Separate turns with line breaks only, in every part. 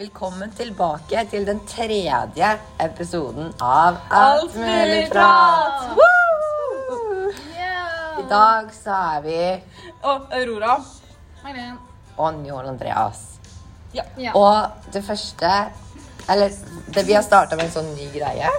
Velkommen tilbake til den tredje episoden av
Alt mulig prat!
Woo! I dag så er vi
Og Aurora.
on Joel Andreas.
Ja.
Ja.
Og det første Eller det, vi har starta med en sånn ny greie.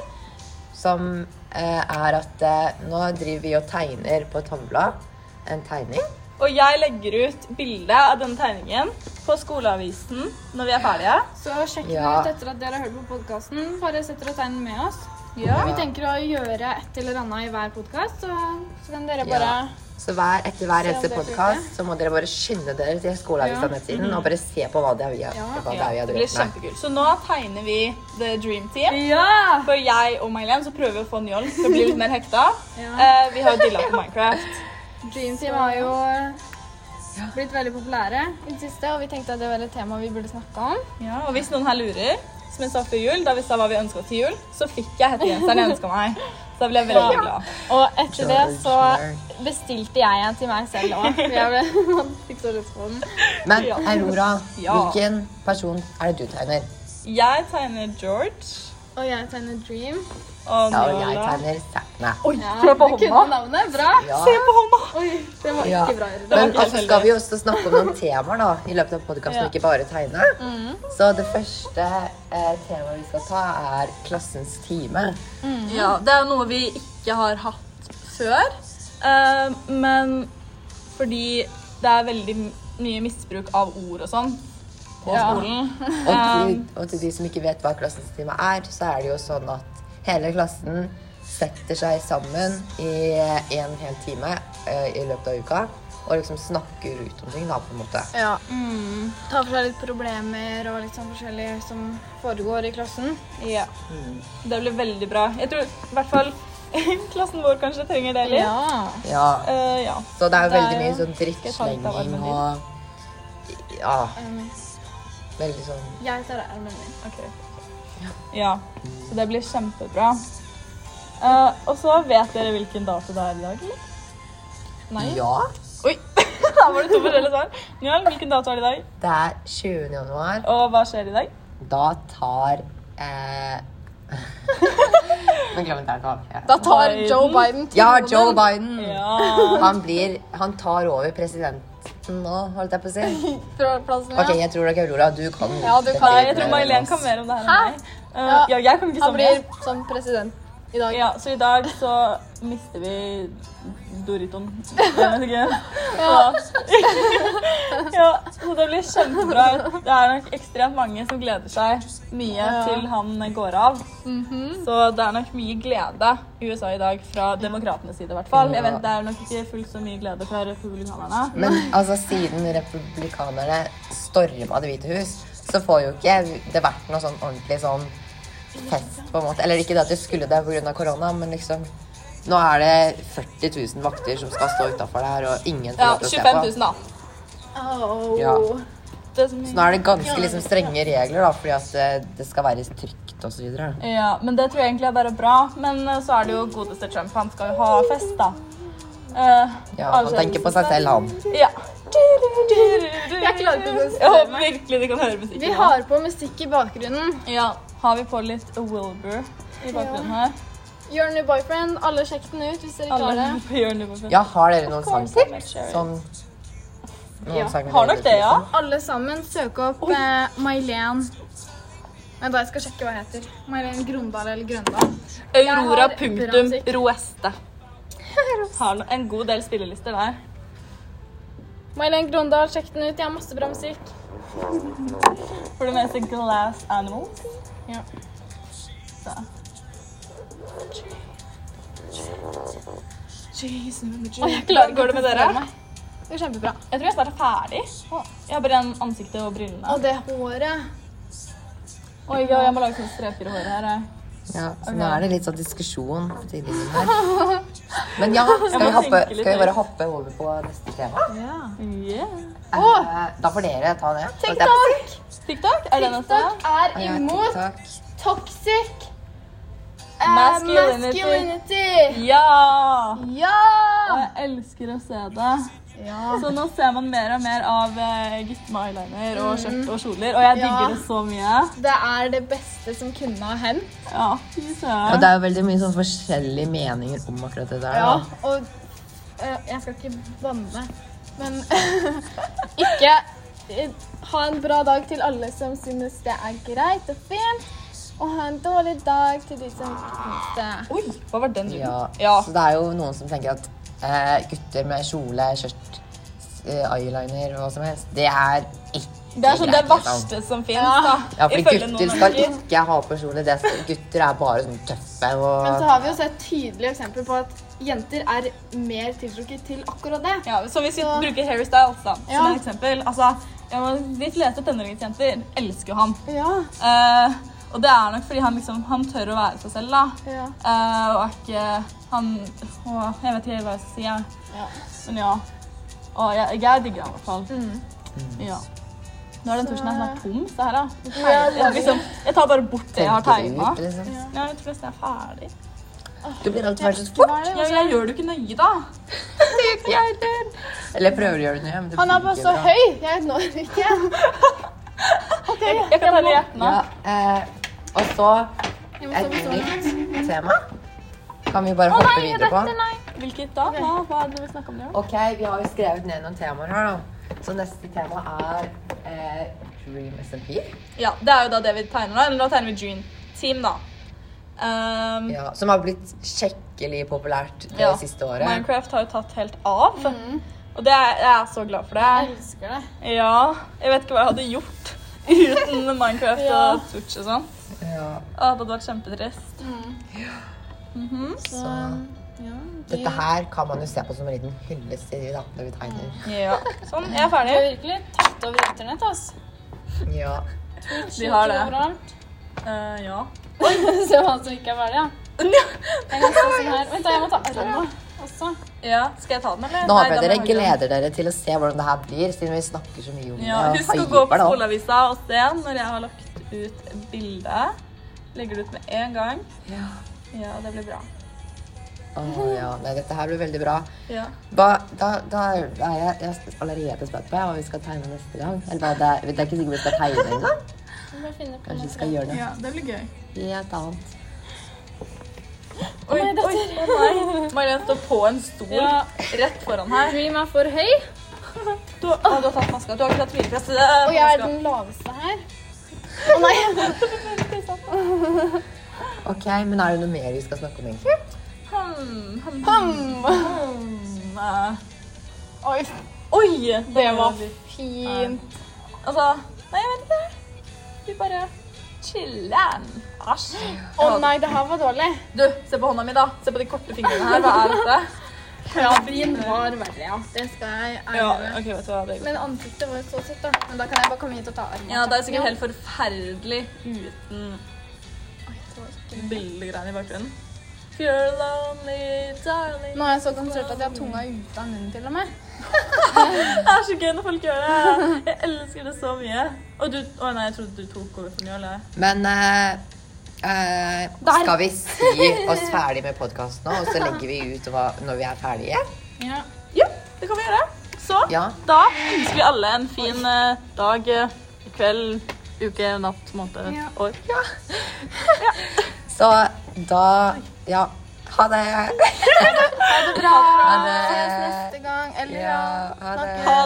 Som eh, er at eh, nå driver vi og tegner på et håndblad. En tegning.
Og jeg legger ut bilde av denne tegningen på skoleavisen når vi er ferdige.
Så sjekk den
Ja.
ut etter at dere har hørt på podkasten. Bare sett dere og tegn med oss.
Ja.
Vi tenker å gjøre et eller annet i hver podkast, så, så kan dere
Ja.
bare
Så hver, etter hver
Se om
eneste
det
podkast så må dere bare skynde dere til
Ja.
skoleavisa-nettsiden og bare se på hva det er vi har,
Ja.
hva det er vi
Det
har
blir
drevet med.
kjempekult. Så nå tegner vi The Dream Team.
Ja!
For jeg og Mailen så prøver vi å få Njål til å bli litt mer hekta.
Ja.
Eh, vi har jo dilla på Minecraft.
Dream Team har jo blitt veldig populære i det siste, og vi tenkte at det var et tema vi burde snakke om.
Ja, og hvis noen her lurer, som jeg sa før jul, da vi sa hva vi ønska til jul, så fikk jeg hettegenseren jeg ønska meg. Så da ble jeg veldig
Ja.
glad.
Og etter det så
George.
bestilte jeg en til meg selv òg. Jeg ble, fikk så lyst på den.
Men
Ja.
Aurora,
Ja.
hvilken person er det du tegner?
Jeg tegner George.
Og jeg tegner Dream.
Og
Ja, og jeg
Njål da.
tegner Sætne.
Oi,
Ja,
se på
du kunne
hånda!
navnet. Bra!
Ja.
Se på hånda!
Oi, det var
Ja.
ikke bra. Ida.
Men
ikke
altså,
helt
skal vi også snakke om noen temaer da, i løpet av podkasten,
Ja.
ikke bare tegne? Så det første eh, temaet vi skal ta, er klassens time.
Ja, det er noe vi ikke har hatt før. eh, men fordi det er veldig m- mye misbruk av ord og sånn på
Ja.
skolen.
Og til, og til de som ikke vet hva klassens time er, så er det jo sånn at hele klassen setter seg sammen i en hel time eh, i løpet av uka og liksom snakker ut om ting, da, på en måte.
Ja. Mm. Ta for seg litt problemer og litt sånn forskjellig som foregår i klassen.
Ja. Mm. Det blir veldig bra. Jeg tror i hvert fall klassen vår kanskje trenger det litt.
Ja.
Ja.
Eh, ja.
Så det er jo
Det er
veldig mye
jo-
sånn
jeg ta litt av
drittslenging
armen din?
og Ja,
Um,
veldig sånn
jeg tar armen min.
Ok. Ja. Så det blir kjempebra. Eh, og så vet dere hvilken dato det er i dag, eller? Nei?
Ja.
Oi! Der var det to forskjellige svar. Njal, hvilken dato er det i dag?
Det er 20. januar.
Og hva skjer i dag?
Da tar eh... Men glem det her nå. Ja.
Da
tar Joe
Biden
Ja, Joe Biden.
Ja.
Han blir Han tar over presidenten nå, holdt jeg på å si.
fra plassen.
OK, jeg tror nok Aurora, du kan eh,
Ja, du
dette
kan.
Nei,
litt
jeg
mer
tror
enn
Mailen
oss.
kan mer om det her
Hæ?
enn meg. Uh, ja, jeg kan ikke så mye.
som president i dag.
Ja, så i dag så mister vi Doritoen. Jeg vet ikke. Så- Ja, så det blir kjempebra. Det er nok ekstremt mange som gleder seg mye til han går av. Så det er nok mye glede i USA i dag fra demokratenes side i hvert fall. Jeg vet, det er nok ikke fullt så mye glede fra republikanerne.
Men altså, siden republikanerne storma Det hvite hus, så får jo ikke det vært noe sånn ordentlig sånn fest, på en måte. Eller ikke det at det skulle det pga. korona, men liksom Nå er det 40 000 vakter som skal stå utafor der, og ingen får
Ja,
lov til å se
25
på.
000 da.
Oh.
Ja.
Det som
Så nå er det ganske liksom, strenge regler, da, fordi at eh, det skal være trygt og så videre.
Ja, men det tror jeg egentlig er bare bra. Men eh, så er det jo godeste Trump. Han skal jo ha fest, da. Eh,
Ja, han tenker på seg selv, han.
Ja.
Jeg klarer ikke å
Jeg
konsentrere
håper
meg.
virkelig de kan høre musikken.
Vi har på musikk i bakgrunnen.
Ja, har vi på litt Wilbur i bakgrunnen her?
Your new boyfriend. Alle sjekk den ut hvis dere
Alle
klarer det.
på hjørnet på fest.
Ja, har dere noen sangtips?
Sure.
Sånn noen
Ja.
sanger
Har
dere
nok det, ja.
liker?
Alle sammen, søk opp eh, Mailen Vent, da, jeg skal sjekke hva jeg heter. Mailen Grondal eller Grøndal.
Aurora
Jeg har bra
punktum
musikk.
roeste. Har no- en god del spillelister der.
Mailen Grondal, sjekk den ut. Jeg har masse bra musikk.
For det meste Glass Animals.
Ja.
Så. Jeg klarer ikke å med dere.
Det er kjempebra.
Jeg tror jeg snart er ferdig. Jeg har bare igjen ansiktet og brillene.
Og det håret.
Oi, ja, jeg må lage sånne streker i håret her. jeg.
Ja, så nå er det litt sånn diskusjon på tidligere her. Men ja, skal vi,
må
hoppe,
tenke litt
skal vi bare
høyt.
hoppe over på neste tema?
Yeah.
Eh, Da får dere ta det. holdt jeg på å si.
TikTok!
TikTok, er det neste?
TikTok er
Ja,
imot
TikTok.
toxic eh,
Masculinity.
masculinity.
Ja!
Ja!
Og jeg elsker å se det.
Ja.
Så nå ser man mer og mer av eh, gutter med eyeliner og skjørt og kjoler, og jeg
Ja.
digger det så mye.
Det er det beste som kunne ha hendt.
Ja, fy
Og
søren.
det er jo veldig mye sånn forskjellige meninger om akkurat det der.
Ja,
da.
og eh, jeg skal ikke banne, men ikke eh, ha en bra dag til alle som synes det er greit og fint, og ha en dårlig dag til de som ikke synes det.
Oi, hva var den
Ja.
lyden? Ja.
Så det er jo noen som tenker at eh, gutter med kjole, skjørt, eh, eyeliner og hva som helst, det er ikke
Det er sånn det
greit, liksom.
verste som fins, da.
Ja, for
Ifølge
gutter
noen
skal
mennesker.
ikke ha på kjole. Det skal, gutter er bare sånn tøffe
Men så
og
har vi jo sett tydelige eksempler på at jenter er mer tiltrukket til akkurat det.
Ja, så hvis vi
Så-
bruker Harry Styles da,
Ja.
som et eksempel altså, jeg må, De fleste tenåringsjenter elsker jo han.
Ja,
Eh, og det er nok fordi han, liksom, han tør å være seg selv. da.
ja,
Eh, og er ikke han å, Jeg vet ikke hva jeg skal si, jeg.
ja.
men ja. Og jeg, jeg digger han i hvert fall.
Mm.
Ja. Nå er den tusjen her snart tom. Se her, da. Jeg, liksom, jeg tar bare bort det jeg har tegna.
ut, liksom.
Ja.
Ja, jeg tror nesten jeg er ferdig.
Du blir alltid ferdig så fort.
Ja, jeg gjør det jo ikke nøye, da.
Eller prøver å gjøre det nye, men det
Han er
blir
bare
ikke
så
bra.
høy, jeg når ikke. Ok,
Jeg kan telle hjertene.
Ja, eh, og så
Jeg må
et
sove sånn.
nytt tema. Kan vi bare hoppe videre på?
Hvilket da? Hva, hva er det du vil snakke om? Leon?
Ok, vi har jo skrevet ned noen temaer her, da. Så neste tema er eh, Dream SMP.
Ja, det er jo da det vi tegner da. Eller nå tegner vi Dream Team, da. Um,
Ja, som har blitt skikkelig populært det
ja.
siste året.
Minecraft har jo tatt helt av.
Mhm.
Og det er, jeg er så glad for
Jeg
det.
elsker det.
Ja, jeg vet ikke hva jeg hadde gjort uten Minecraft
Ja.
og Twitch og sånn.
Ja,
Å, Det hadde vært kjempetrist.
så
Ja,
dette her kan man jo se på som en liten hyllest til de da, når vi tegner.
Ja. Sånn, jeg er
Vi
ferdig.
har virkelig tatt over internett, ass.
Ja.
De har det.
Overalt.
Eh, ja.
Se hva som ikke er ferdig, ja. Jeg kan stå sånn her. Vent da, jeg må ta armen nå, også.
ja. Skal jeg ta den, eller?
Nå håper
Nei,
jeg
da må
dere
jeg ha den.
gleder dere til å se hvordan det her blir, siden vi snakker så mye om
Ja,
det. og
husk å
hyper
gå på
det opp.
skoleavisa og se når jeg har lagt ut bilde. Legger det ut med en gang.
Ja.
Ja, det blir bra.
Å, ja. Nei, dette her blir veldig bra.
Ja.
Hva, da, da er jeg, jeg er allerede spent på hva vi skal tegne neste gang. Eller hva det er, det er ikke sikkert vi skal tegne engang.
Vi må finne på
Kanskje vi
noe.
skal gjøre noe
det blir gøy.
helt annet.
Oi, oi, å nei. Marlene står på en stol
Ja.
rett foran her.
Dream er for høy,
Du, å, du har tatt maska. Du har ikke tatt hvilepress. eh,
og jeg er
maska.
den laveste her.
Ok, men er det noe mer vi skal snakke om, egentlig?
Hmm, hmm,
Bam!
hmm, eh.
Oi,
Oi!
det var fint.
Altså Nei, jeg vet ikke. Vi bare chiller'n. Æsj.
Å nei, det her var dårlig.
Du, se på hånda mi, da. Se på de korte fingrene her. Hva er dette?
Ja, din var verre, ja. Det skal jeg
ok, vet du hva det
Men ansiktet var jo så søtt, da. Men da kan jeg bare komme hit og ta armen.
Ja, det er sikkert helt forferdelig uten bildegreiene i bakgrunnen. You're lonely, darling.
Nå er jeg så konsentrert at jeg har tunga ute av munnen til og med.
Det er så gøy når folk gjør det. Jeg elsker det så mye. Og du Å nei, jeg trodde du tok over for Njål. jeg.
Men eh, eh,
Der.
skal vi si oss ferdig med podkasten nå, og så legger vi ut hva, når vi er ferdige?
Ja.
Ja, det kan vi gjøre. Så
Ja.
da ønsker vi alle en fin eh, dag, eh, kveld, uke, natt, måned,
Ja.
år.
Så da Ja. Ha det.
Ha det bra.
Ha det.
Ses neste gang. Eller
Ja, ha det.
snakkes.
Ha